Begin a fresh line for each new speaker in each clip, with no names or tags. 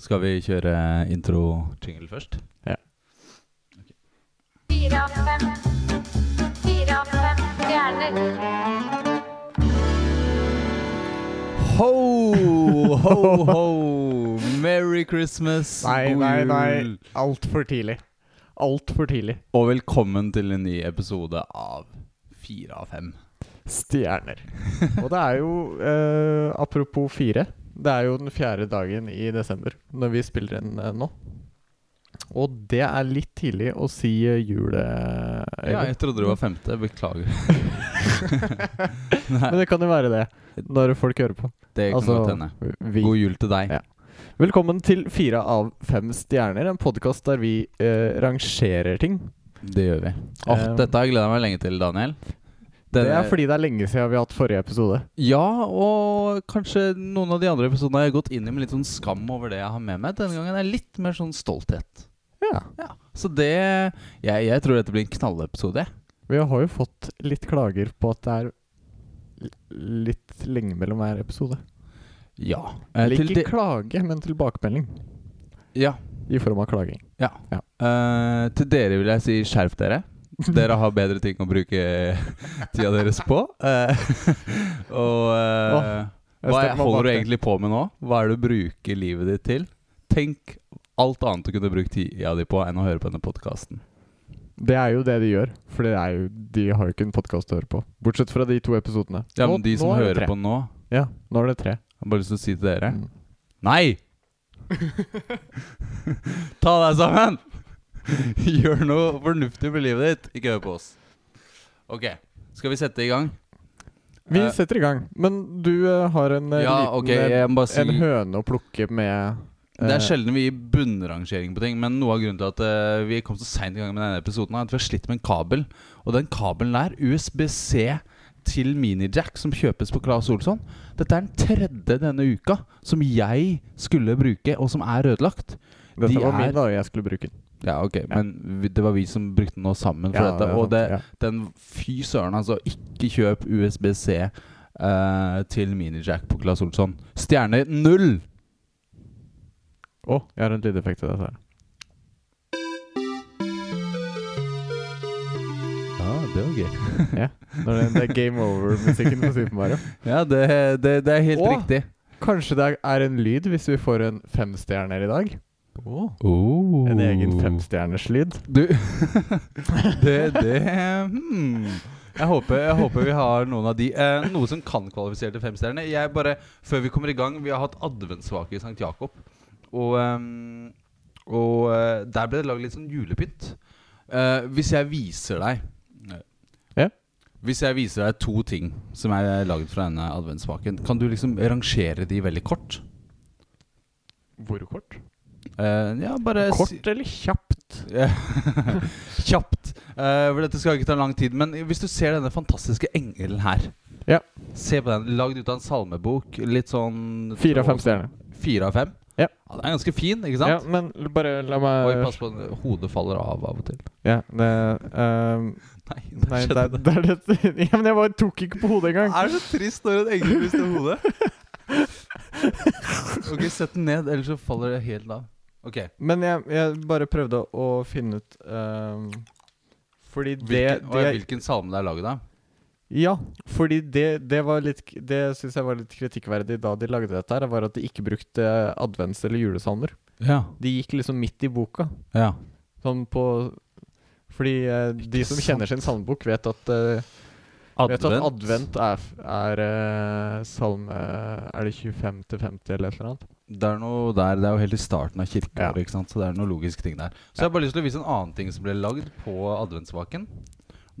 Skal vi kjøre intro-jingle først?
Ja.
Fire av fem. Fire av fem stjerner.
Ho, ho, ho! Merry Christmas!
Nei, nei,
god
nei.
jul,
Altfor tidlig. Altfor tidlig.
Og velkommen til en ny episode av Fire av fem.
Stjerner. Og det er jo, eh, apropos fire, det er jo den fjerde dagen i desember når vi spiller inn eh, nå. Og det er litt tidlig å si eh, jule...
Ja,
Øyvind.
jeg trodde det var femte. Beklager.
Men det kan jo være det, når folk hører på. Altså,
Det kan godt hende.
vi.
God jul til deg.
Ja. Velkommen til Fire av fem stjerner, en podkast der vi eh, rangerer ting.
Det gjør vi. Åh,
Eh,
Dette har jeg gleda meg lenge til, Daniel.
Det er fordi det er lenge siden vi har hatt forrige episode.
Ja, og kanskje noen av de andre episodene har jeg gått inn i med litt sånn skam over det jeg har med meg. Denne gangen er jeg litt mer sånn stolthet.
Ja.
Ja. Så det Jeg, jeg tror dette blir en knallepisode. jeg.
Vi har jo fått litt klager på at det er l- litt lenge mellom hver episode.
Ja. Eh,
Eller
til
ikke
de,
klage, men tilbakemelding.
ja.
I form av klaging.
Eh, til dere vil jeg si skjerp dere. Dere har bedre ting å bruke tida deres på. Eh, og eh,
Jeg
hva
stiller meg bak
holder du
det.
egentlig på med nå? Hva er det du bruker livet ditt til? Tenk alt annet du kunne brukt tida di på enn å høre på denne podkasten.
Det er jo det de gjør. For det er jo, de har jo ikke en podkast å høre på. Bortsett fra de to episodene.
Ja,
Nå-
men de som
nå er det
hører
tre.
på nå
Ja, nå er det tre.
Jeg har bare lyst til å si til dere
Mm.
Nei! Ta deg sammen! Gjør noe fornuftig med livet ditt. Ikke hør på oss. Ok, skal vi sette i gang?
Vi
Eh,
setter i gang. Men du eh, har en eh,
Ja,
liten
ok,
eh,
jeg må bare si
En høne å plukke med
Det
eh,
er sjelden vi gir bunnrangering på ting, men noe av grunnen til at eh, vi kom så seint i gang med denne episoden, er at vi har slitt med en kabel. Og den kabelen der, USBC til minijack som kjøpes på Claes Olsson, dette er den tredje denne uka som jeg skulle bruke, og som er ødelagt.
Dette
de
var
er-
min, da. og Jeg skulle bruke den.
Ja, ok, men vi- det var vi som brukte den nå sammen for
Ja,
dette.
er
og
sant,
det,
ja.
den fy søren, altså. Ikke kjøp USBC eh, til minijack på Claes Olsson. Stjerne null!
Å, jeg har en lydeffekt til dette. her.
Ja, det var gøy.
Når det, det er game over-musikken på Super Mario.
Ja, det, det, det er helt
Åh!
riktig.
Kanskje det er en lyd hvis vi får en femstjerner i dag? En egen femstjerners lyd?
Du Det, det hmm. jeg, håper, jeg håper vi har noen av de. Eh, noe som kan kvalifisere til femstjerne. Jeg bare, Før vi kommer i gang, vi har hatt adventsvake i St. Jakob. Og, ehm, og eh, der ble det laget litt sånn julepynt. Eh, hvis jeg viser deg
Ja.
Hvis jeg viser deg to ting som er laget fra denne adventsvaken, kan du liksom rangere de veldig kort?
Hvor kort?
Eh, ja, bare si-
Kort eller kjapt?
Ja. Kjapt. Eh, for dette skal ikke ta lang tid. Men hvis du ser denne fantastiske engelen her
Ja.
Se på den. Lagd ut av en salmebok. Litt sånn
Fire av fem stjerner.
Fire av fem?
Ja.
Den er ganske fin, ikke
Ja,
sant?
men l- bare la
Oi,
meg
pass på, hodet faller av av og til.
Ja, det ehm,
Nei,
Nei, det er det, er det Ja, men jeg bare tok ikke på hodet engang.
Er det så trist når en engel mister hodet? ok, sett den ned, ellers så faller det helt av. Ok.
Men jeg, jeg bare prøvde å finne ut ehm, Fordi det,
Hvilken,
det
åja, hvilken salme det er laget av?
Ja, fordi det, det var litt Det syns jeg var litt kritikkverdig da de lagde dette her, var at de ikke brukte eh, advents- eller julesalmer.
Ja.
De gikk liksom midt i boka.
ja.
Sånn på Fordi eh, de som
sant.
kjenner sin salmebok, vet at, eh, vet at advent er, f- er eh, salme Er det 25 til 50 eller et eller annet?
Det er noe der, det er jo helt i starten av kirkeåret,
Ja.
ikke sant? så det er noe logisk ting der. Så jeg har bare lyst til å vise en annen ting som ble lagd på adventsvaken.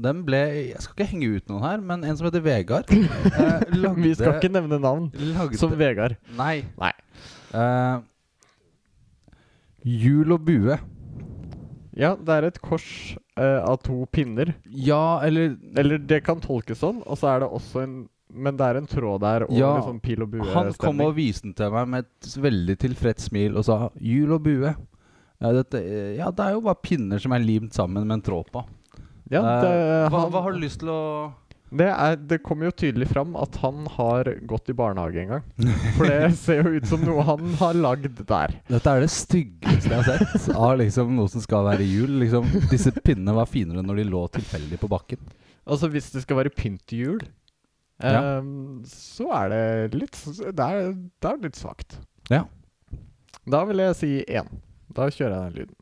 Den ble Jeg skal ikke henge ut noen her, men en som heter Vegard eh, lagde,
Vi skal ikke nevne navn.
lagde,
Som Vegard.
Nei.
Nei.
Eh, jul og bue.
Ja, det er et kors eh, av to pinner.
Ja, eller
Eller det kan tolkes sånn, og så er det også en Men det er en tråd der over
Ja,
sånn pil og bue.
Han kom og viste den til meg med et s- veldig tilfreds smil og sa 'jul og bue'. Ja, dette, eh, ja, det er jo bare pinner som er limt sammen med en tråd på.
ja, det,
Eh, hva,
han,
hva har du lyst til å
Det, er, det kommer jo tydelig fram at han har gått i barnehage en gang. For det ser jo ut som noe han har lagd der.
Dette er det styggeste jeg har sett av liksom noe som skal være jul. Liksom. Disse pinnene var finere når de lå tilfeldig på bakken.
Altså hvis det skal være pynt til jul,
Ja.
ehm, så er det litt s- Det er, det er litt svakt.
Ja.
Da vil jeg si én. Da kjører jeg den lyden.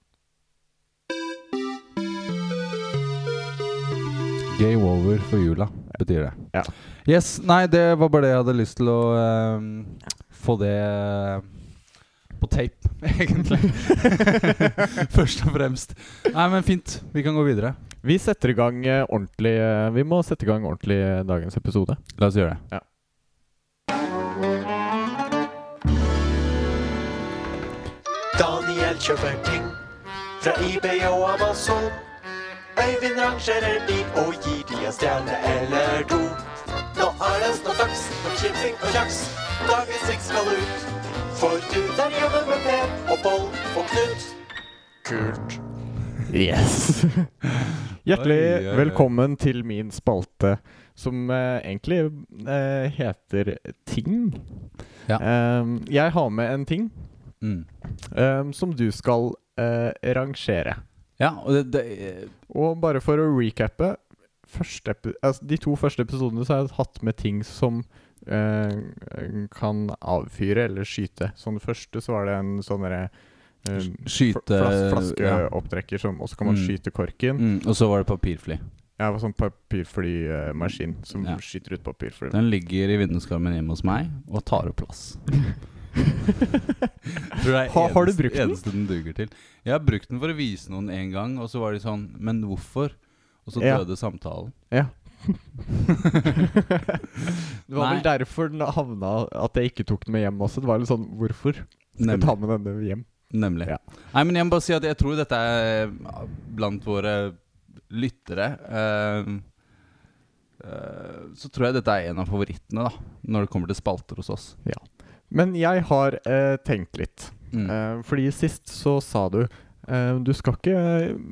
Game over for jula, betyr det.
Ja.
Yes, Nei, det var bare det jeg hadde lyst til å ehm, få det eh, på tape, egentlig. Først og fremst. Nei, men fint. Vi kan gå videre.
Vi setter i gang eh, ordentlig eh, Vi må sette i gang ordentlig eh, dagens episode.
La oss gjøre det.
Ja.
Daniel kjøper ting fra eBay og Amazon. Øyvind rangerer de og gir de en stjerne eller to. Nå er det snart dags for chipsing og kjaks. Dagens triks skal ut. For du der jobber med Per og Boll og Knut. Kult.
Yes! Hjertelig
Oi, oi, oi.
velkommen til min spalte, som eh, egentlig eh, heter Ting.
Ja.
Ehm, jeg har med en ting
Mm.
ehm, som du skal eh, rangere.
Ja, og det, eh, det,
Og bare for å recappe første epi- altså, De to første episodene så har jeg hatt med ting som eh, kan avfyre eller skyte. Som det første så var det en sånn derre eh,
Skyte-
fl- flas
ja.
Flaskeopptrekker, som- og så kan man
Mm.
skyte korken.
mm, Og så var det papirfly.
Ja, sånn papirflymaskin som
Ja.
skyter ut papirfly.
Den ligger i vinduskarmen hjemme hos meg og tar opp plass. Tror det er
Ha- har du
eneste-
brukt den?
Eneste den duger til. Jeg har brukt den for å vise noen en gang, og så var de sånn Men hvorfor? Og så
Ja.
døde samtalen.
Ja. det var
Nei.
vel derfor den havna at jeg ikke tok den med hjem også. Det var litt sånn hvorfor skal jeg ta
Nemlig.
med denne hjem?
Nemlig.
Ja.
Nei, men jeg må bare si at jeg tror dette er eh, blant våre lyttere eh, eh, Så tror jeg dette er en av favorittene, da, når det kommer til spalter hos oss.
Men jeg har eh, tenkt litt.
Mm.
Eh, fordi sist så sa du eh, du skal ikke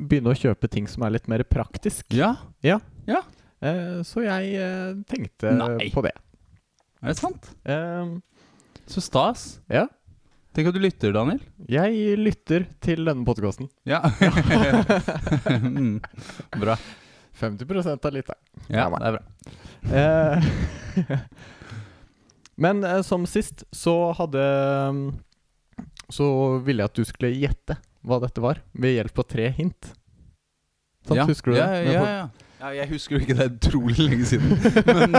begynne å kjøpe ting som er litt mer praktisk.
Ja,
Eh, så jeg eh, tenkte
Nei.
på det.
er det sant?
Eh,
Så stas.
ja.
Tenk at du lytter, Daniel.
Jeg lytter til denne podkasten.
Ja. mm. Bra.
50 av lytteren.
Ja,
Ja, men.
det er bra.
Eh, Men eh, som sist så hadde mm, Så ville jeg at du skulle gjette hva dette var, ved hjelp av tre hint. Sant,
ja.
husker du
ja,
det?
Ja, ja, ja. ja, jeg husker jo ikke det er utrolig lenge siden. Men,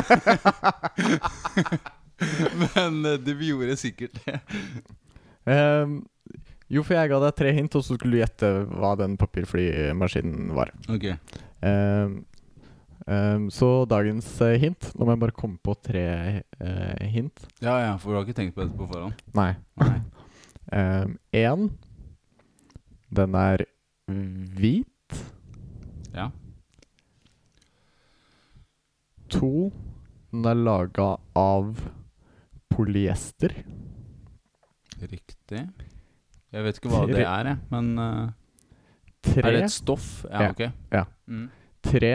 men eh, det vi gjorde sikkert det.
Ehm, jo, for jeg ga deg tre hint, og så skulle du gjette hva den papirflymaskinen var.
Ok.
Ehm, ehm, så dagens eh, hint Nå må jeg bare komme på tre eh, hint.
Ja, ja, for du har ikke tenkt på dette på forhånd?
Nei.
Nei.
Én Den er hvit.
Ja.
To Den er laga av polyester.
Riktig. Jeg vet ikke hva det er, jeg. Men eh,
Tre,
er det et stoff? Ja,
Ja,
ok.
ja.
Mm.
tre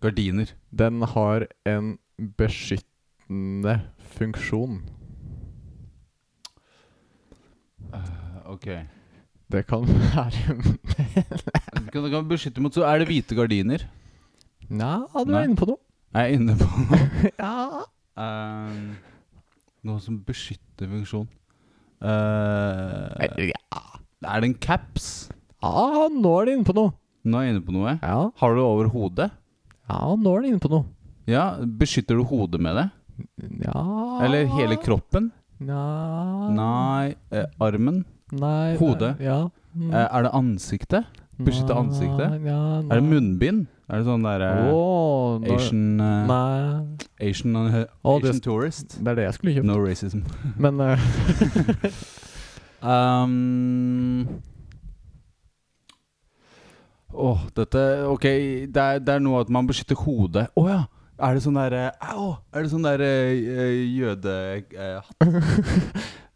Gardiner.
Den har en beskyttende funksjon.
Eh, ok.
Det kan være
Du kan, du kan beskytte mot Så er det hvite gardiner.
Nja, du
Nei.
er inne på noe.
Er jeg inne på noe?
Ja.
Eh, noe som beskytter funksjon. Eh, er det en caps?
Ja, nå er du inne på noe.
Nå er jeg inne på noe.
Ja,
Har du det over hodet?
ja nå er du inne på noe.
Ja, Beskytter du hodet med det?
Ja
Eller
Ah.
hele kroppen?
Nei
Nei. Eh, armen?
Nei,
Hodet.
Ja. Mm.
Eh, er det ansiktet? beskytte ansiktet?
Nei, Ja,
Er det munnbind? Er det sånn derre
Åh, nå-
Asian, eh,
Nei
Asian, eh,
Å, det-
Asian tourist?
Det er det jeg skulle kjøpt.
No racism.
Men eh,
Um, Åh, dette Ok, det er, det er noe at man beskytter hodet. Å ja! Er det sånn der eh, Au! Er det sånn der eh, jødehatt?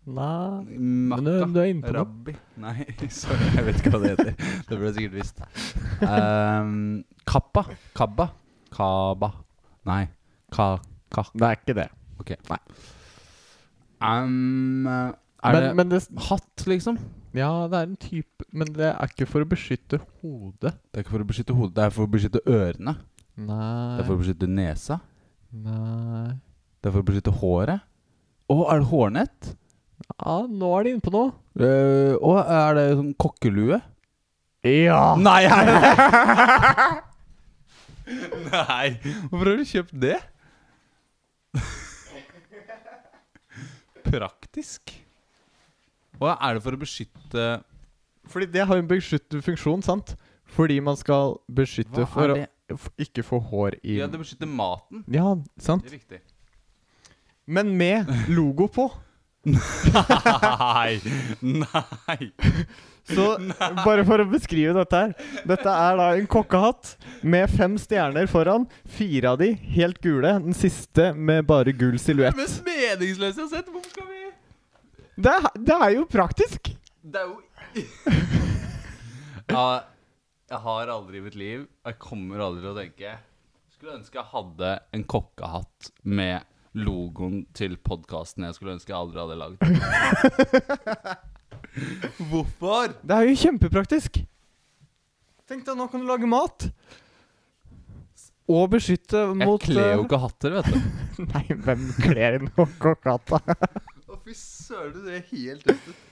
Nei Men eh,
Makka?
du, du er inne på noe.
Rabbi? Nei, sorry, jeg vet ikke hva det heter. Det burde jeg sikkert visst. Um, kappa. Kabba. Ehm, Kaba. Nei. Ka... Ka...
Det er ikke det.
Ok.
Nei.
Um, er
men,
det
men det s-
hatt, liksom?
Ja, det er en type Men det er ikke for å beskytte hodet.
Det er ikke for å beskytte hodet, det er for å beskytte ørene. Det er for
Nei
å beskytte nesa.
Nei
Det er for å beskytte håret. Å, er det hårnett?
Ja, nå er de inne på noe.
Eh, Å, er det sånn kokkelue?
Ja!
Nei, er det Nei. Hvorfor har du kjøpt det? Praktisk. Og er det for å beskytte
Fordi det har jo en beskyttende funksjon, sant? Fordi man skal beskytte
Hva
for
er
å
det?
f- ikke få hår i
Ja, det beskytter maten.
Ja, sant?
Riktig.
Men med logo på.
Nei! Nei!
Så bare for å beskrive dette her Dette er da en kokkehatt med fem stjerner foran. Fire av de helt gule. Den siste med bare gul
Det er
silhuett.
mest meningsløse jeg har sett. Hvorfor skal vi
Det, er- det er jo praktisk!
Det er jo ja, Jeg har aldri i mitt liv, og jeg kommer aldri til å tenke Skulle ønske jeg hadde en kokkehatt med logoen til podkasten jeg skulle ønske jeg aldri hadde lagd. Hvorfor?
Det er jo kjempepraktisk. Tenk deg, nå kan du lage mat. Og beskytte
Jeg
mot eh,
kler jo ikke hatter, vet du.
Nei, hvem kler en kokkehatt, da?
Å, fy søren, du ser helt ut.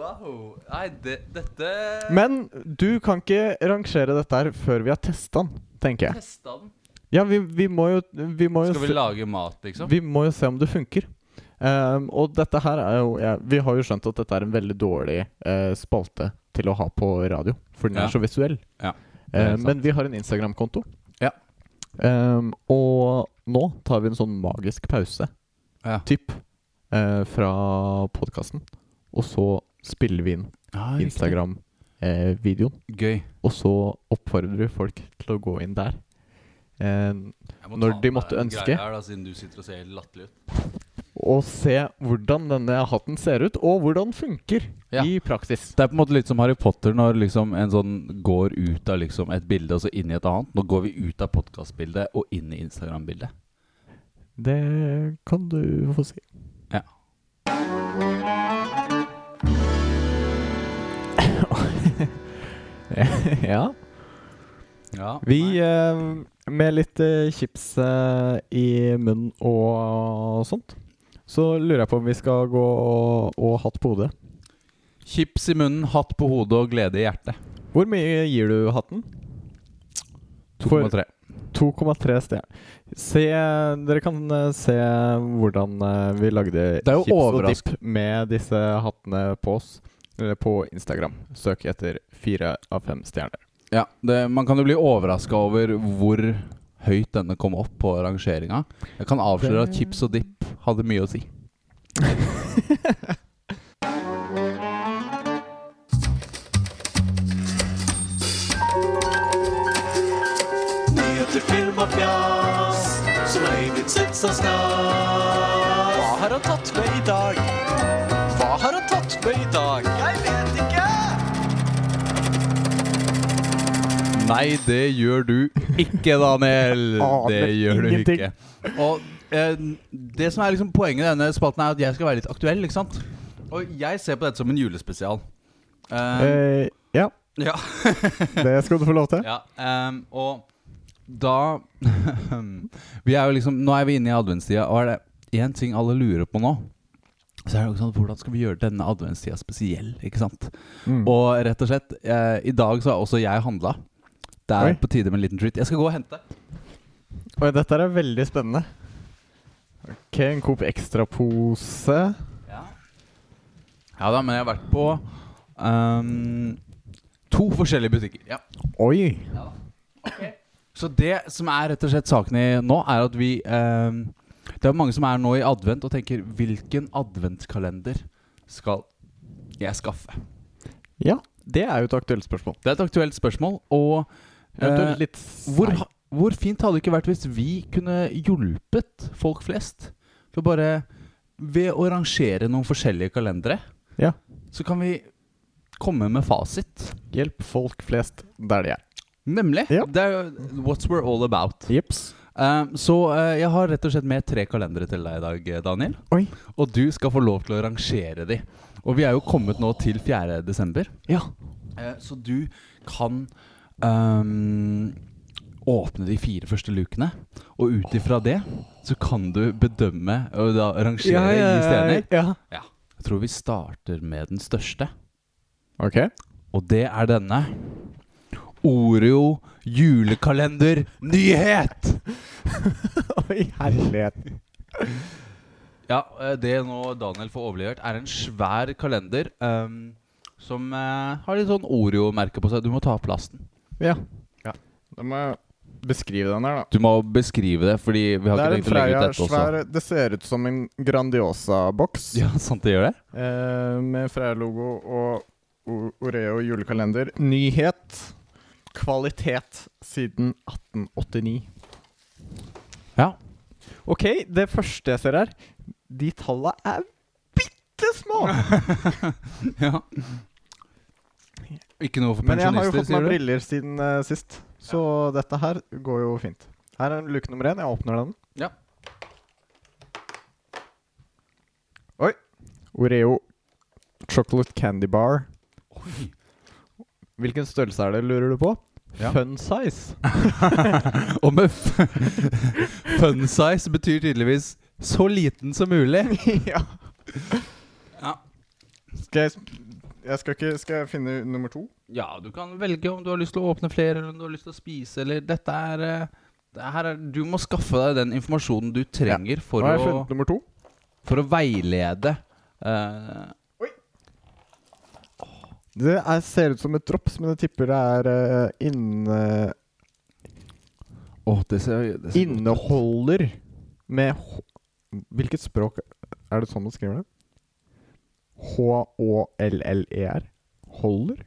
Wow. Nei, det, dette
Men du kan ikke rangere dette her før vi har testa den, tenker jeg.
Testa den.
Ja, vi, vi må jo, vi må jo
Skal vi
se,
lage mat, liksom?
vi må jo se om det funker. Ehm, og dette her er jo ja, Vi har jo skjønt at dette er en veldig dårlig eh, spalte til å ha på radio, for den
Ja.
er så visuell.
Ja, det er
Eh,
sant.
men vi har en Instagram-konto.
Ja.
Ehm, og nå tar vi en sånn magisk pause,
Ja.
typ, eh, fra podkasten. Og så spiller vi inn
Ja, riktig.
Instagram-videoen.
Gøy.
Og så oppfordrer vi folk til å gå inn der. Eh,
Jeg må
Når
ta
de
med
måtte
den
ønske.
greia Her, da, siden du sitter og ser helt latterlig ut.
og se hvordan denne hatten ser ut, og hvordan funker
Ja.
i praksis.
Det er på en måte litt som Harry Potter når liksom en sånn går ut av liksom et bilde og så inn i et annet. Nå går vi ut av podkastbildet og inn i Instagram-bildet.
Det kan du få si.
Ja.
ja.
ja.
Vi eh, Med litt eh, chips eh, i munnen og sånt, så lurer jeg på om vi skal gå og, og hatt på hodet.
Chips i munnen, hatt på hodet og glede i hjertet.
Hvor mye gir du hatten? For-
2,3.
2,3 stjerner. Se, dere kan eh, se hvordan eh, vi lagde
Det er jo
chips og
overrask-
dipp med disse hattene på oss eh, på Instagram. Søk etter fire av fem stjerner.
Ja, det, man kan jo bli overraska over hvor høyt denne kom opp på rangeringa. Jeg kan avsløre at chips og dipp hadde mye å si.
Nyheter, film og fjas Som Øyvind synes er stas Hva har han tatt med i dag? Hva har han tatt med i dag? Jeg vet ikke!
Nei, det gjør du ikke, Daniel.
Aner
Det gjør du
Ah, ingenting.
ikke. Og eh, det som er liksom poenget i denne spalten, er at jeg skal være litt aktuell, ikke sant? Og jeg ser på dette som en julespesial. Eh,
Eh, ja,
ja.
det skal du få lov til.
ja ehm, og da Vi er jo liksom Nå er vi inne i adventstida, og er det én ting alle lurer på nå, så er det jo sånn Hvordan skal vi gjøre denne adventstida spesiell, ikke sant?
Mm.
Og rett og slett, eh, i dag så har også jeg handla. Det er
Oi.
på tide med en liten treat. Jeg skal gå og hente.
Oi, dette er veldig spennende. Ok, en Coop Extra-pose.
Ja. da, men jeg har vært på ehm, to forskjellige butikker. Ja.
Oi!
Så det som er rett og slett saken i nå, er at vi ehm, Det er mange som er nå i advent og tenker Hvilken adventkalender skal jeg skaffe?
Ja, det er jo et aktuelt spørsmål.
Det er et aktuelt spørsmål, og eh,
Eventuelt litt
hvor,
seigt.
ha- hvor fint hadde det ikke vært hvis vi kunne hjulpet folk flest? For bare ved å rangere noen forskjellige kalendere,
Ja.
så kan vi komme med fasit.
Hjelp folk flest der de er.
Nemlig.
Ja.
Det er jo what we're all about.
Jips.
Eh, så eh, jeg har rett og slett med tre kalendere til deg i dag, eh, Daniel.
Oi.
Og du skal få lov til å rangere de. Og vi er jo kommet nå til 4. desember.
Ja.
Eh, så du kan ehm, åpne de fire første lukene, og ut ifra det så kan du bedømme og da rangere
Ja, ja,
i stjerner.
ja.
Jeg tror vi starter med den største,
Ok.
og det er denne. Oreo julekalender nyhet!
Oi, herlighet.
Ja, eh, det nå Daniel får overlevert, er en svær kalender ehm, som eh, har litt sånn Oreo-merke på seg. Du må ta av plasten.
Ja.
Ja. Da må jeg beskrive den her, da.
Du må beskrive det, fordi vi har
Det er
ikke
en
tenkt å legge
Freia
ut dette
svær
også.
Det ser ut som en Grandiosa-boks
Ja, sant det gjør det?
eh, med Freia-logo og O- Oreo julekalender. Nyhet. Kvalitet siden 1889.
Ja.
Ok, det første jeg ser her De tallene er bitte små!
ja. Ikke noe for
Men jeg har jo
pensjonister,
fått meg
sier du?
briller siden eh, sist, så dette her går jo fint. Her er luke nummer én. Jeg åpner den.
Ja.
Oi. Oreo chocolate candy bar.
Oi.
Hvilken størrelse er det, lurer du på?
Ja.
Fun size.
Og med f fun size betyr tydeligvis så liten som mulig.
ja.
Ja.
Skal jeg, s- jeg skal, ikke, skal jeg finne nummer to?
ja, du kan velge om du har lyst til å åpne flere, eller om du har lyst til å spise, eller Dette er, eh, det her er Du må skaffe deg den informasjonen du trenger for,
Nå har jeg
å,
funnet nummer to.
for å veilede. eh,
Det er, ser ut som et drops, men jeg tipper det er eh, inne,
Åh, det ser, det ser godt ut.
inneholder med h Hvilket språk er det sånn man skriver det? H-å-l-l-e-r. Holder?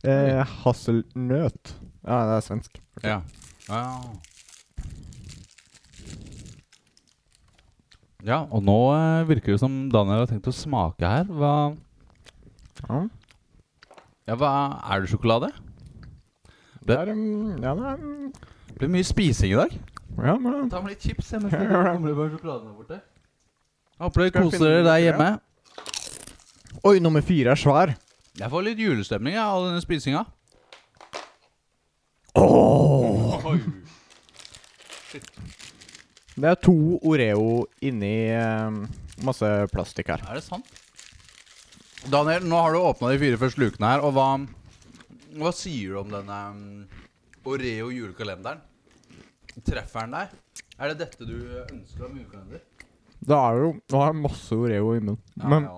Eh, hasselnøt. Ja, det er svensk.
Ja. Ja. ja, og nå eh, virker det som Daniel har tenkt å smake her. Hva,
Ja.
ja, hva Er det sjokolade?
Det er, um, ja, det er um,
Det blir mye spising i dag.
ja, men,
Ta med litt chips. Jeg, mens det kommer bare sjokoladen der borte. Jeg håper dere
Skal jeg
koser
finne
dere der
noe,
hjemme.
Oi, nummer fire er svær.
Jeg får litt julestemning av all denne spisinga.
Det er to Oreo inni um, masse plastikk her.
Er det sant? Daniel, nå har du åpna de fire første lukene her, og hva, hva sier du om denne mm, Oreo julekalenderen? Treffer den deg? Er det dette du ønsker om julekalender?
Det er jo Nå har jeg masse Oreo i munnen. Men
ja.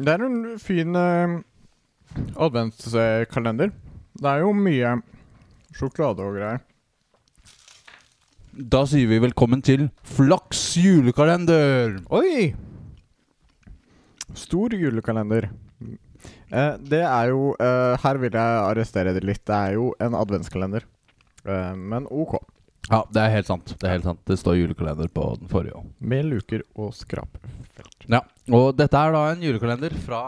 det er en fin um, adventskalender. Det er jo mye sjokolade og greier.
Da sier vi velkommen til Flaks julekalender!
Oi! Stor julekalender. Eh, det er jo eh, Her vil jeg arrestere det litt. Det er jo en adventskalender. Eh, men OK.
Ja, det er helt sant. Det er helt sant. Det står julekalender på den forrige òg.
Med luker og skrap.
Ja, og dette er da en julekalender fra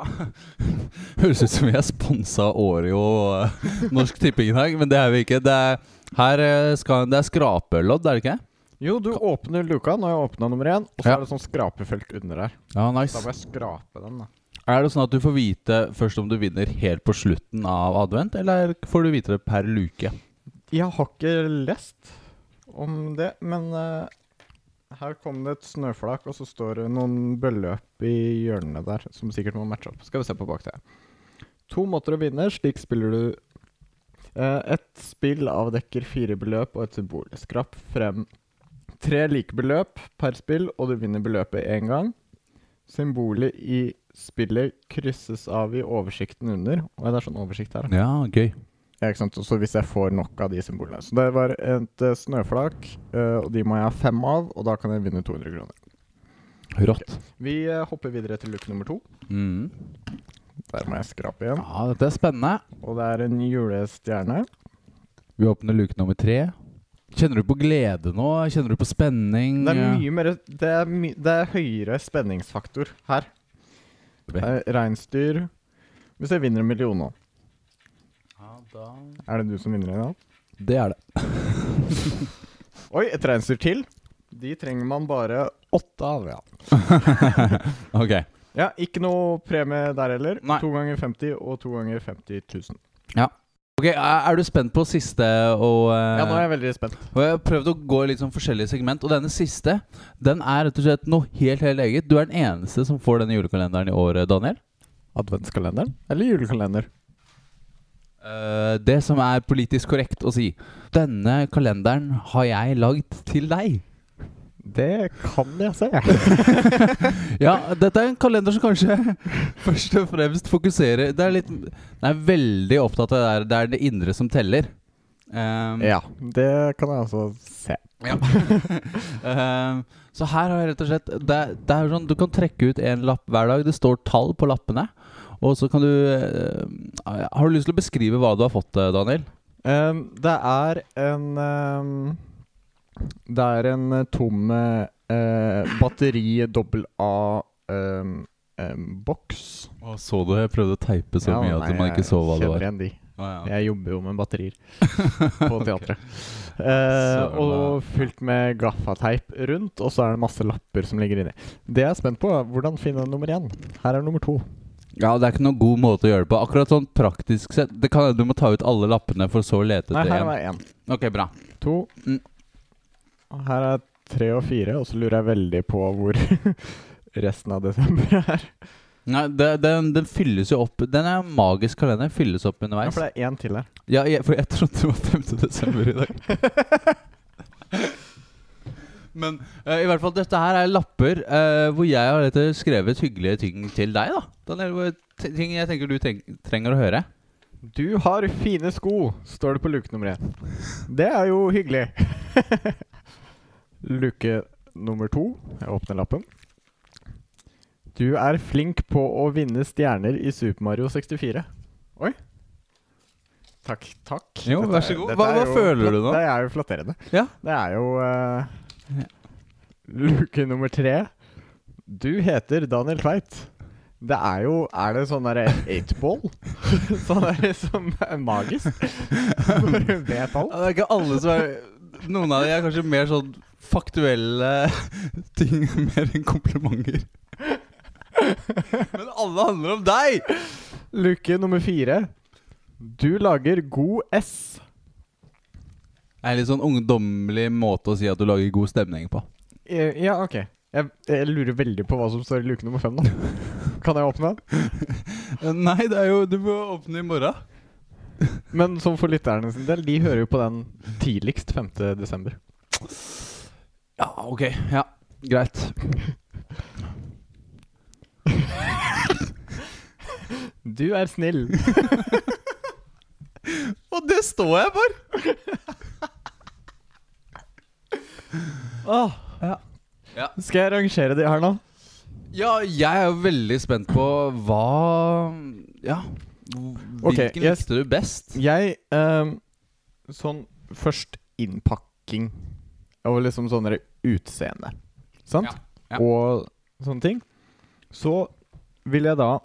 Høres ut som vi er sponsa av Oreo og eh, Norsk Tipping i dag, men det er vi ikke. Det er, her eh, skal, det er skrapelodd, er det ikke?
Jo, du åpner luka. Nå har jeg åpna nummer én, og så
Ja.
er det sånn skrapefelt under her.
Ja,
Da
nice.
må jeg skrape den, da.
Er det sånn at du får vite først om du vinner helt på slutten av advent, eller får du vite det per luke?
Jeg har ikke lest om det, men eh, her kom det et snøflak, og så står det noen bølleløp i hjørnene der, som sikkert må matche opp. Skal vi se på bak det. To måter å vinne. Slik spiller du eh, Et spill avdekker fire beløp og et symbol. Skrap frem tre like beløp per spill, og du vinner beløpet én gang. Symbolet i spillet krysses av i oversikten under. Og det er sånn oversikt her.
Ja, gøy.
Ja, ikke sant? Og Så hvis jeg får nok av de symbolene. Så det var et eh, snøflak, eh, og de må jeg ha fem av, og da kan jeg vinne 200 kroner.
Rått.
Vi eh, hopper videre til luke nummer to.
Mm.
Der må jeg skrape igjen.
Ja, dette er spennende.
Og det er en julestjerne.
Vi åpner luke nummer tre. Kjenner du på glede nå? Kjenner du på spenning?
Det er mye mer Det er, my, det er høyere spenningsfaktor her. Det
Ja,
er Reinsdyr. Hvis jeg vinner en million nå,
da...
er det du som vinner i dag?
Det er det.
Oi, et reinsdyr til. De trenger man bare åtte av. Ja,
Ok.
ja Ikke noe premie der heller.
Nei.
To ganger 50 og to ganger 50 000.
Ok, Er er du spent på siste og eh,
Ja, nå er jeg veldig spent.
Og jeg har prøvd å gå i litt sånn forskjellige segment, og denne siste den er rett og slett noe helt helt eget. Du er den eneste som får denne julekalenderen i år, Daniel.
Adventskalenderen eller julekalender?
Eh, det som er politisk korrekt å si. Denne kalenderen har jeg lagd til deg.
Det kan jeg se.
Ja, dette er en kalender som kanskje først og fremst fokuserer Det er litt Den er veldig opptatt av det der det er det indre som teller. Um,
Ja, det kan jeg altså se.
Ja. Ehm, så her har jeg rett og slett det, det er sånn, Du kan trekke ut en lapp hver dag. Det står tall på lappene. Og så kan du ehm, Har du lyst til å beskrive hva du har fått, eh, Daniel?
Um, det er en um, Det er en eh, tom eh, eh, batteri dobbel A um, um, boks.
så du jeg prøvde å teipe så mye at man ikke så hva det var?
Kjenner igjen de. Jeg jobber jo med batterier på teatret. Eh,
Søren,
og fylt med gaffateip rundt, og så er det masse lapper som ligger inni. Det jeg er spent på, er hvordan finne nummer én. Her er nummer to.
Ja, Det er ikke noen god måte å gjøre det på. Akkurat sånn praktisk sett Det kan hende Du må ta ut alle lappene for så å lete
Nei,
etter
her
en.
var én.
Ok, bra.
To.
Mm.
Og Her er tre og fire, og så lurer jeg veldig på hvor resten av desember er.
Nei, det, den, den fylles jo opp Den er en magisk kalender. Fylles opp
Ja,
underveis.
for det er én til her.
Ja, jeg, for jeg trodde det var 5. desember i dag. Men eh, i hvert fall, dette her er lapper eh, hvor jeg har rett og slett skrevet hyggelige ting til deg. da Daniel, hvor- t- Ting jeg tenker du tenk trenger å høre.
Du har fine sko, står det på luke nummer én. Det er jo hyggelig. luke nummer to. Jeg åpner lappen. Du er flink på å vinne stjerner i Super Mario 64. Oi. Takk. takk.
Jo,
Dette
vær så
er-
god.
dette
Hva-
er
hva føler du nå?
Det er jo flatterende.
Ja.
Det er jo eh, Luke nummer tre. Du heter Daniel Tveit. Det er jo Er det sånn derre eightball? sånn derre som er magisk? Når du vet alt?
Det er ikke alle som er Noen av de er kanskje mer sånn faktuelle ting mer enn komplimenter. Men alle handler om deg!
Luke nummer fire. Du lager god S.
Det er en litt sånn ungdommelig måte å si at du lager god stemning på.
Eh, Ja, OK. Jeg, jeg lurer veldig på hva som står i luke nummer fem, da. Kan jeg åpne den?
Eh, Nei, det er jo Du må åpne i morgen.
Men som for lytterne sin del, de hører jo på den tidligst 5. desember.
Ja, ok. Ja, greit.
Du er snill.
Og det står jeg for!
Åh,
Ja. Ja.
Skal jeg rangere de her nå?
Ja, jeg er jo veldig spent på hva Ja. Hvilken
Ok, jeg-
likte du best?
Jeg ehm, Sånn først innpakking og liksom sånn der utseende, sant?
Ja, ja.
Og sånne ting. Så vil jeg da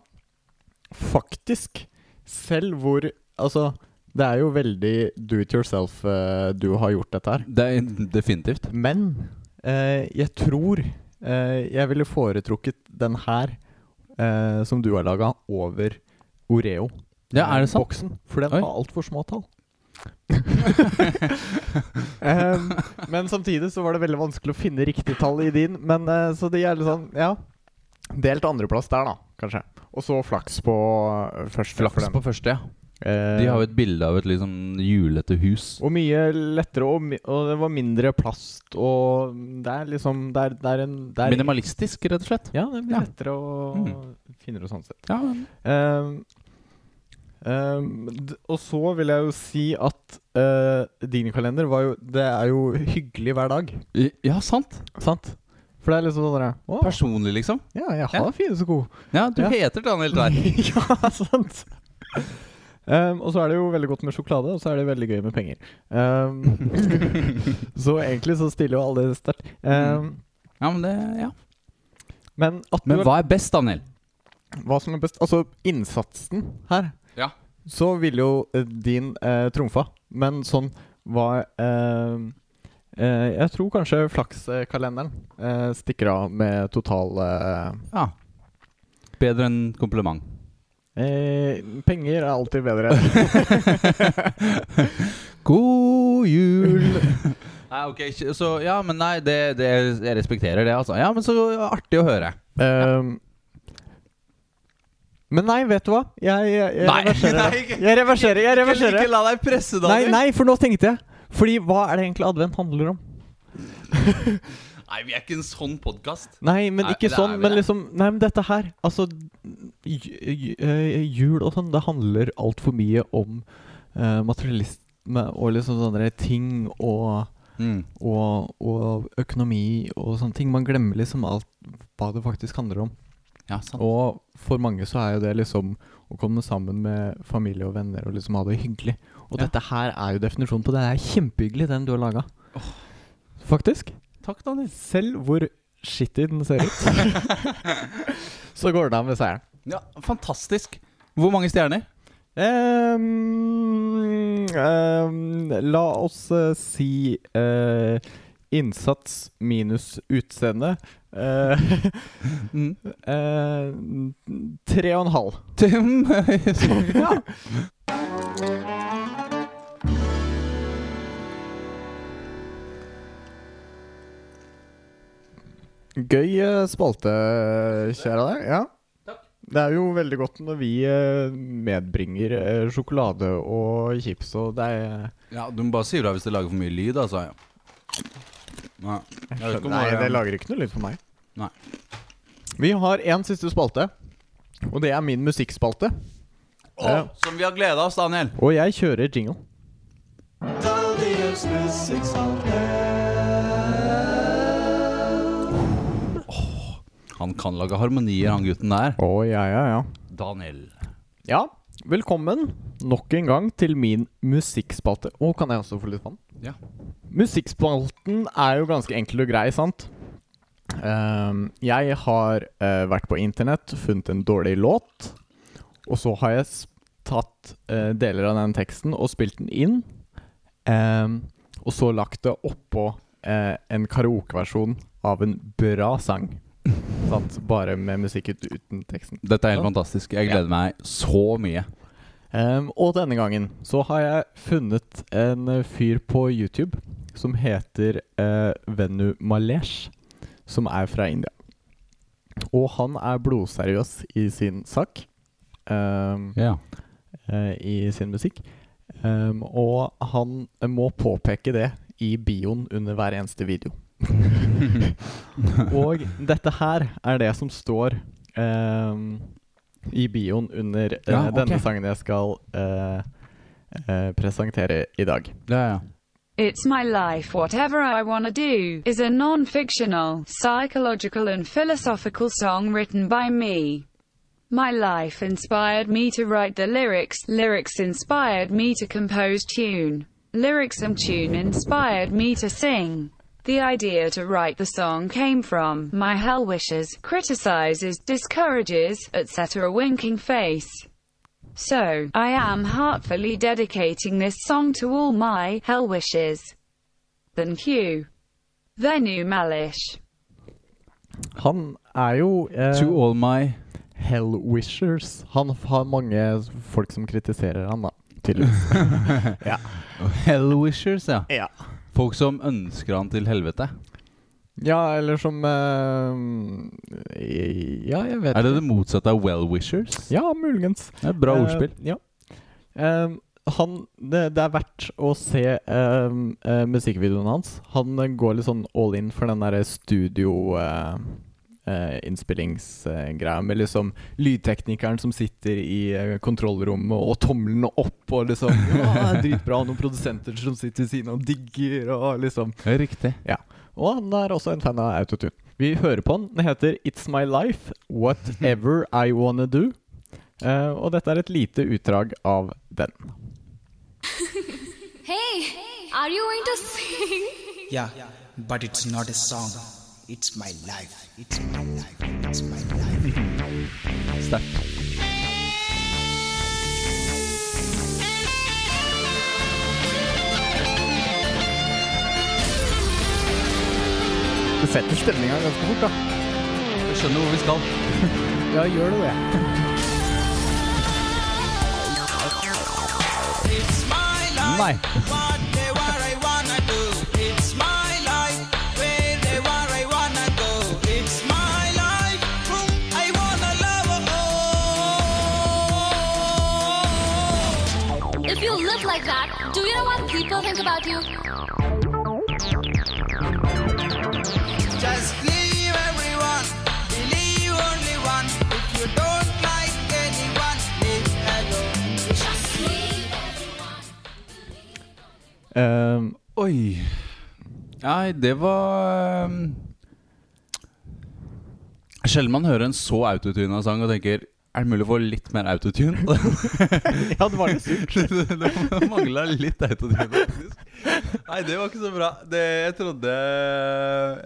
faktisk Selv hvor Altså, det er jo veldig do it yourself eh, du har gjort dette her.
Det er definitivt.
Men eh, jeg tror eh, jeg ville foretrukket den her eh, som du har laga, over Oreo.
Ja, er det sant?
Boksen, for den
Oi.
har altfor små tall. Em, Ehm, men samtidig så var det veldig vanskelig å finne riktig tall i din. Men eh, Så det er litt sånn, ja. Delt andreplass der, da, kanskje. Og så flaks på eh, første. for
Flaks
den.
på første, ja.
Eh,
De har jo et bilde av et liksom julete hus.
og mye lettere, og, mi og det var mindre plast, og det er liksom Det er, det er en det er
Minimalistisk, rett og slett.
Ja, det blir
Ja.
lettere og
Mm.
finere sånn sett.
Ja,
Ehm, ehm, d og så vil jeg jo si at eh, din kalender var jo Det er jo hyggelig hver dag,
I- ja sant.
sant? For det er liksom sånn der, Å,
Personlig, liksom.
ja, jeg har
Ja.
fine sko.
Ja, du
Ja.
heter Daniel Tveit.
ja, sant. Ehm, og så er det jo veldig godt med sjokolade, og så er det veldig gøy med penger. Ehm, så egentlig så stiller jo alle det sterkt. Ehm,
Ja, men det Ja.
men at du
Men
har-
hva er best, Daniel?
hva som er best Altså innsatsen her
Ja.
Så ville jo eh, din eh, trumfa Men sånn hva eh, Eh, jeg tror kanskje flakskalenderen eh, stikker av med total eh,
Ja. Bedre enn kompliment.
eh, Penger er alltid bedre.
God jul! nei, ok, ikke- så Ja, men nei, det, det, jeg respekterer det, altså. Ja, men så artig å høre.
Ehm, men nei, vet du hva? Jeg, jeg, jeg
Nei,
reverserer.
nei,
det.
ikke-
jeg reverserer. Jeg
Ikke,
reverserer.
la deg presse,
Nei,
Daniel.
nei, for nå tenkte jeg. Fordi hva er det egentlig advent handler om?
Nei, vi er ikke en sånn podkast.
Nei, men
Nei,
ikke
det er
sånn.
vel
Men
det.
liksom Nei, men dette her Altså, j- j- eh, jul og sånn, det handler altfor mye om eh, materialisme og liksom sånne ting og
Mm.
og, og økonomi og sånne ting. Man glemmer liksom alt hva det faktisk handler om.
Ja, sant.
Og for mange så er jo det liksom å komme sammen med familie og venner og liksom ha det hyggelig. Og
Ja.
dette her er jo definisjonen på det. Det er kjempehyggelig, den du har laga. Faktisk.
Takk, Daniel.
Selv hvor shitty den ser ut, så går det av med seieren.
Ja, Fantastisk. Hvor mange stjerner?
Ehm, ehm, la oss eh, si eh, innsats minus utseende. Eh,
Mm.
eh, tre og en halv.
ja.
Gøy eh, spalte, kjære deg. Ja.
Takk.
Det er jo veldig godt når vi eh, medbringer eh, sjokolade og chips, og det er
ja, Du må bare si ifra hvis det lager for mye lyd, altså. Nei, jeg vet ikke om
Nei,
det-
det lager ikke noe lyd for meg.
Nei.
Vi har én siste spalte, og det er min musikkspalte. Eh,
Å, Som vi har gleda oss, Daniel.
Og jeg kjører jingle.
Daniels musikkspalte.
Han kan lage harmonier, han gutten der.
Å, ja, ja, ja.
Daniel.
Ja, velkommen nok en gang til min musikkspalte. Å, kan jeg også få litt vann?
Ja.
Musikkspalten er jo ganske enkel og grei, sant? Ehm, jeg har eh, vært på internett, funnet en dårlig låt, og så har jeg s- tatt eh, deler av den teksten og spilt den inn, ehm, og så lagt det oppå eh, en karaokeversjon av en bra sang. sant? Bare med musikk ut- uten teksten.
Dette er helt fantastisk. Jeg gleder meg så mye.
Ehm, og denne gangen så har jeg funnet en eh, fyr på YouTube som heter eh, Venu Malesh, som er fra India. Og han er blodseriøs i sin sak, ehm,
Ja.
eh, i sin musikk. Ehm, og han må påpeke det i bioen under hver eneste video. og dette her er det som står ehm, i bioen under eh,
Ja, ok.
denne sangen jeg skal eh, eh, presentere i dag.
ja, ja.
It's My Life Whatever I Wanna Do is a non-fictional, psychological and philosophical song written by me. My life inspired me to write the lyrics, lyrics inspired me to compose tune, lyrics and tune inspired me to sing. The idea to write the song came from my hell wishes, criticizes, discourages, etc. winking face. So, I am heartfully dedicating this song to all my hell wishes. Thank you. Venu Malish.
Han er jo eh,
To all my
hell wishers. Han f- har mange folk som kritiserer han da, tydeligvis.
hellwishers, ja.
ja.
Folk som ønsker han til helvete.
Ja, eller som eh, i- Ja, jeg vet
Er det det motsatte av well-wishers?
Ja, muligens.
Det er et bra
Eh,
ordspill.
Ja. Eh, han, det, det er verdt å se eh, eh, musikkvideoen hans. Han eh, går litt sånn all in for den derre studio-innspillingsgreia eh, med liksom lydteknikeren som sitter i eh, kontrollrommet og tommelen opp og liksom ja, Dritbra. Og noen produsenter som sitter ved siden av og digger og liksom
Det er Riktig.
og han er også en fan av autotune. Vi hører på den. Den heter It's My Life, Whatever I Wanna Do. Eh, og dette er et lite utdrag av den.
Hey, are you going to sing?
Yeah, but it's not a song. It's my life. It's my life. It's my life.
Sterkt.
Du setter stemninga ganske fort, da.
Du skjønner hvor vi skal.
Ja, gjør du det?
Nei.
If you live like that, do you know what people think about you?
Just leave everyone, believe only one. If you don't like anyone, leave alone.
Just leave everyone.
Ehm,
Oi. Nei, det var ehm, Sjelden man hører en så autotuna sang og tenker er det mulig å få litt mer autotune?
ja, det var litt surt.
det det mangla litt autotune, faktisk. Nei, det var ikke så bra. Det, jeg trodde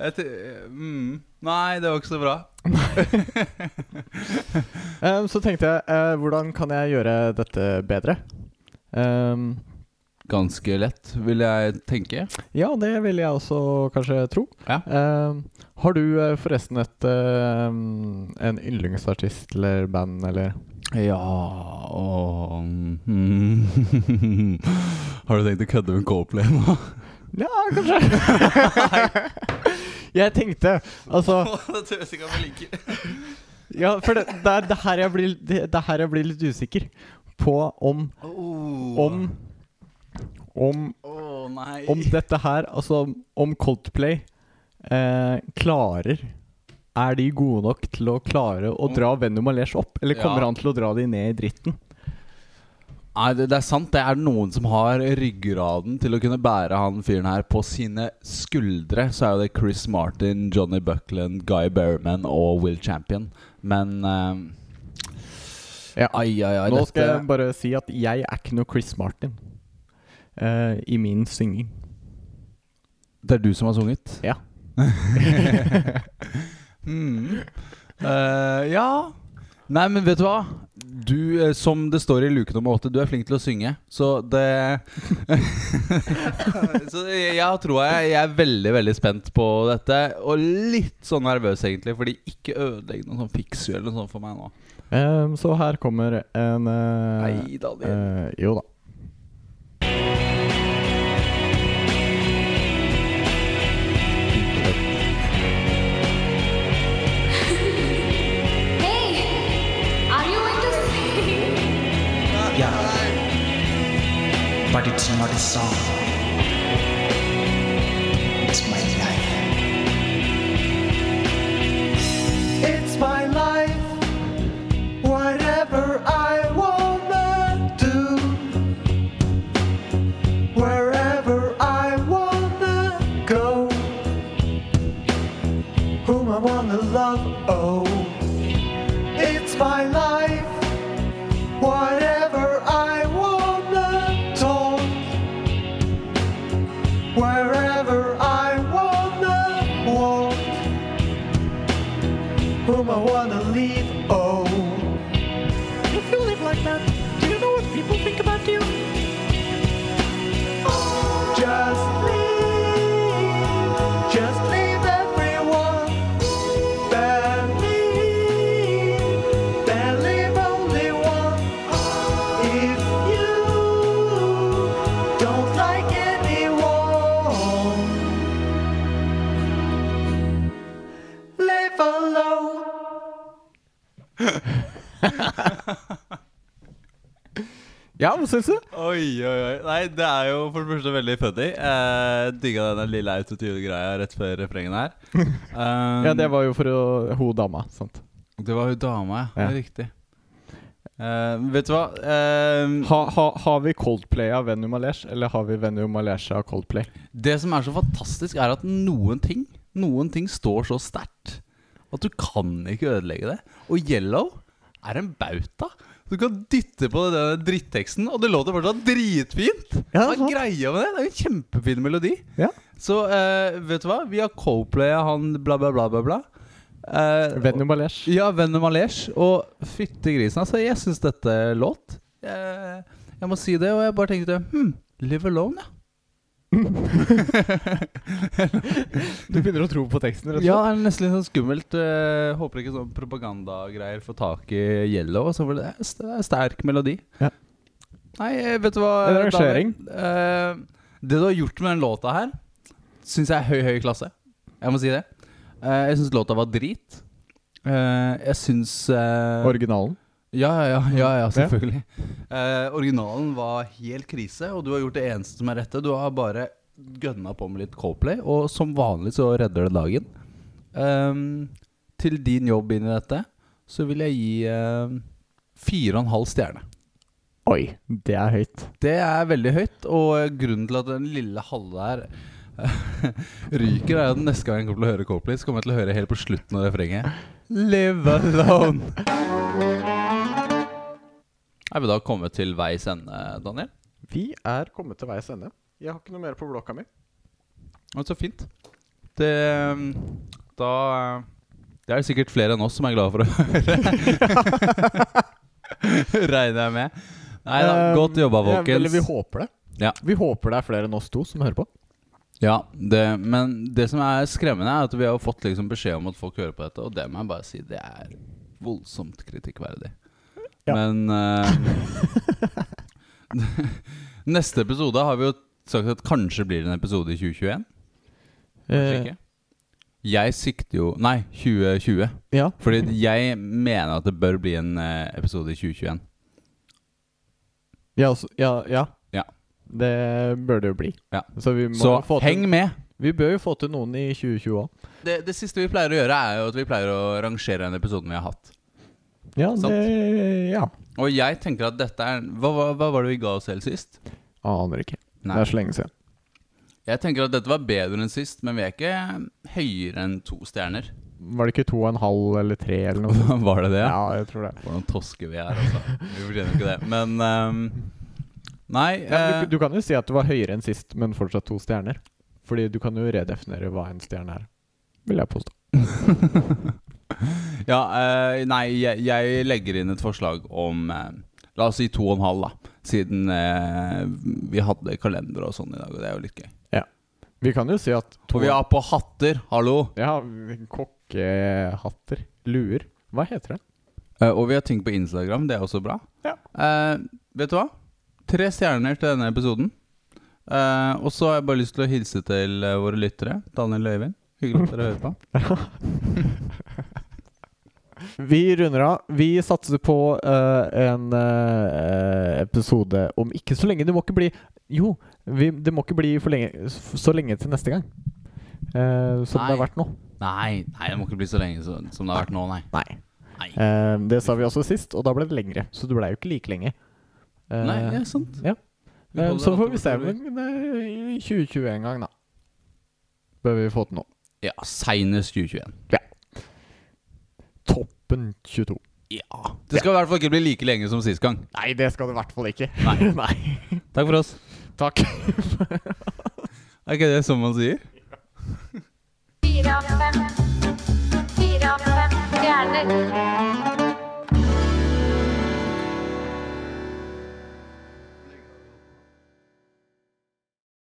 jeg t mm. Nei, det var ikke så bra.
Ehm, så tenkte jeg, eh, hvordan kan jeg gjøre dette bedre? Ehm,
Ganske lett, vil jeg tenke.
ja, det vil jeg også kanskje tro.
Ja.
Ehm, har du eh, forresten et ehm, en yndlingsartist eller band eller
Ja og mm. Har du tenkt å kødde med Coldplay nå?
Ja, kanskje. jeg tenkte, altså
det tør jeg ikke at jeg liker.
Ja, for det, det, er, det, her jeg blir, det, det er her jeg blir litt usikker på om Om Om,
Å nei.
om dette her, altså om Coldplay eh, klarer Er de gode nok til å klare å dra Venom Malesh opp, eller kommer
Ja.
han til å dra de ned i dritten?
Nei, det, det er sant. Det er noen som har ryggraden til å kunne bære han fyren her på sine skuldre. Så er jo det Chris Martin, Johnny Buckland, Guy Berryman og Will Champion. Men eh,
Ja.
Ai, ai, ai.
Nå
dette-
skal jeg bare si at jeg er ikke noe Chris Martin eh, i min synging.
Det er du som har sunget?
Ja.
Mm. Eh, ja Nei, men vet du hva? Du, eh, som det står i luke nummer åtte, du er flink til å synge. Så det Så jeg, jeg tror jeg, jeg er veldig, veldig spent på dette. Og litt sånn nervøs, egentlig, fordi ikke ødelegg noe sånn fiksur eller noe sånt for meg nå.
Ehm, så her kommer en eh,
Nei, Daniel.
eh, Jo da.
Hey, are you going to sing?
Yeah. But it's not a song. It's my life.
It's my life. Whatever I wanna do. Wherever I wanna go. Whom I wanna love, oh. It's my life. Whatever I wanna talk. Wherever I wanna walk whom I wanna leave. Oh, if you live like that, do you know what people think about you? Just leave, just leave everyone. Then leave, then leave only one. If you don't like anyone, live alone.
Ja, hva syns du?
Oi, oi, oi. Nei, det er jo for det første veldig funny. Eh, Digga denne lille autotune-greia rett før refrengen her. Um,
Ja, det var jo for å ho dama. sant?
Det var jo dama, ja. Det
Ja.
er riktig. Eh, vet du hva? Eh,
Ha, ha, har vi Coldplay av Venue Malesh, eller har vi Venue Malesh av Coldplay?
det som er så fantastisk, er at noen ting Noen ting står så sterkt at du kan ikke ødelegge det. Og Yellow er en bauta. Du kan dytte på denne dritteksten, og det låter fortsatt dritfint!
Ja,
Hva
sant.
er greia med det? Det er jo en kjempefin melodi.
Ja.
Så eh, vet du hva? Vi har Coplaya, han bla, bla, bla, bla, bla. Eh,
Venue Malesh.
Ja, Venom Malesh. Og fytti grisen, altså. Jeg syns dette låt. Jeg, jeg må si det, og jeg bare tenkte hm, Live hmm, Alone, ja.
Du begynner å tro på teksten, rett og
Ja,
slett?
det er nesten litt sånn skummelt. eh, håper ikke sånn propagandagreier får tak i Yellow. og Så var det det er en sterk melodi.
Ja.
Nei, eh, vet du hva
Det er en
Daniel? Eh, det du har gjort med den låta her, syns jeg er høy, høy klasse. Jeg må si det. Eh, jeg syns låta var drit. Eh, jeg syns eh,
Originalen.
ja, ja, ja, ja, ja, selvfølgelig. Eh, originalen var helt krise, og du har gjort det eneste som er rette. Du har bare gønna på med litt Coldplay, og som vanlig så redder det dagen. Ehm, til din jobb inn i dette, så vil jeg gi ehm, fire og en halv stjerne.
Oi, det er høyt.
Det er veldig høyt, og grunnen til at den lille halve her ryker, er at neste gang jeg kommer til å høre Coldplay, så kommer jeg til å høre helt på slutten av refrenget. Live alone. Er vi da kommet til veis ende, Daniel?
Vi er kommet til veis ende. Jeg har ikke noe mer på blokka mi.
Å, så fint. Det um, Da uh, Det er det sikkert flere enn oss som er glade for å høre. Regner jeg med. Nei da,
Eh,
godt jobba,
ja,
folkens.
Eller vi håper det.
Ja.
Vi håper det er flere enn oss to som hører på.
Ja, det, men det som er skremmende, er at vi har fått liksom beskjed om at folk hører på dette, og det må jeg bare si, det er voldsomt kritikkverdig.
Ja.
Men eh, Neste episode har vi jo sagt at kanskje blir det en episode i 2021. Kanskje
Eh,
ikke. Jeg sikter jo Nei, 2020.
Eh, ja.
Fordi jeg mener at det bør bli en eh, episode i 2021.
Ja, altså, ja, ja.
Ja.
Det bør det jo bli.
Ja.
Så, vi må
Så
jo få
heng
til,
med!
Vi bør jo få til noen i 2020 òg.
Det, det siste vi pleier å gjøre, er jo at vi pleier å rangere den episoden vi har hatt.
Ja,
Sant.
det Ja.
Og jeg tenker at dette er Hva, hva, hva var det vi ga oss selv sist?
Aner ikke.
Nei.
Det er så lenge siden.
Jeg tenker at dette var bedre enn sist, men vi er ikke høyere enn to stjerner.
Var det ikke to og en halv eller tre eller noe? sånt?
var det det?
ja, jeg tror det.
For noen tosker vi er, altså. Vi fortjener ikke det. Men ehm, Nei.
Ja,
eh,
men du, du kan jo si at det var høyere enn sist, men fortsatt to stjerner. Fordi du kan jo redefinere hva en stjerne er, vil jeg påstå.
ja, eh, nei, jeg, jeg legger inn et forslag om eh, La oss si to og en halv, da. Siden eh, vi hadde kalender og sånn i dag, og det er jo litt gøy.
Vi kan jo si at to
Og vi har på hatter, hallo!
Ja, kokkehatter. Luer. Hva heter det?
Eh, og vi har ting på Instagram, det er også bra.
Ja.
Eh, vet du hva? Tre stjerner til denne episoden. Eh, og så har jeg bare lyst til å hilse til eh, våre lyttere. Daniel og Øyvind, hyggelig at dere hører på.
Vi runder av. Vi satser på eh, en eh, episode om ikke så lenge. Det må ikke bli Jo, vi, det må ikke bli for lenge, så lenge til neste gang. Eh, som det har
Nei.
vært nå.
Nei, nei, det må ikke bli så lenge så, som det har vært nå, nei.
Nei.
Nei,
Eh, det sa vi også sist, og da ble det lengre. Så det blei jo ikke like lenge. Eh,
nei det er sant.
ja.
Vi
Eh,
holder
Så får
alt
vi se
over.
om det i 2020 en gang, da. Bør vi få til nå.
Ja, seinest 2021.
Toppen 22.
Ja. Det skal i hvert fall ikke bli like lenge som sist gang.
Nei, det skal det i hvert fall ikke.
Nei.
Nei.
Takk for oss.
Takk.
Er ikke det som man sier?
Fire av fem. Fire av fem stjerner.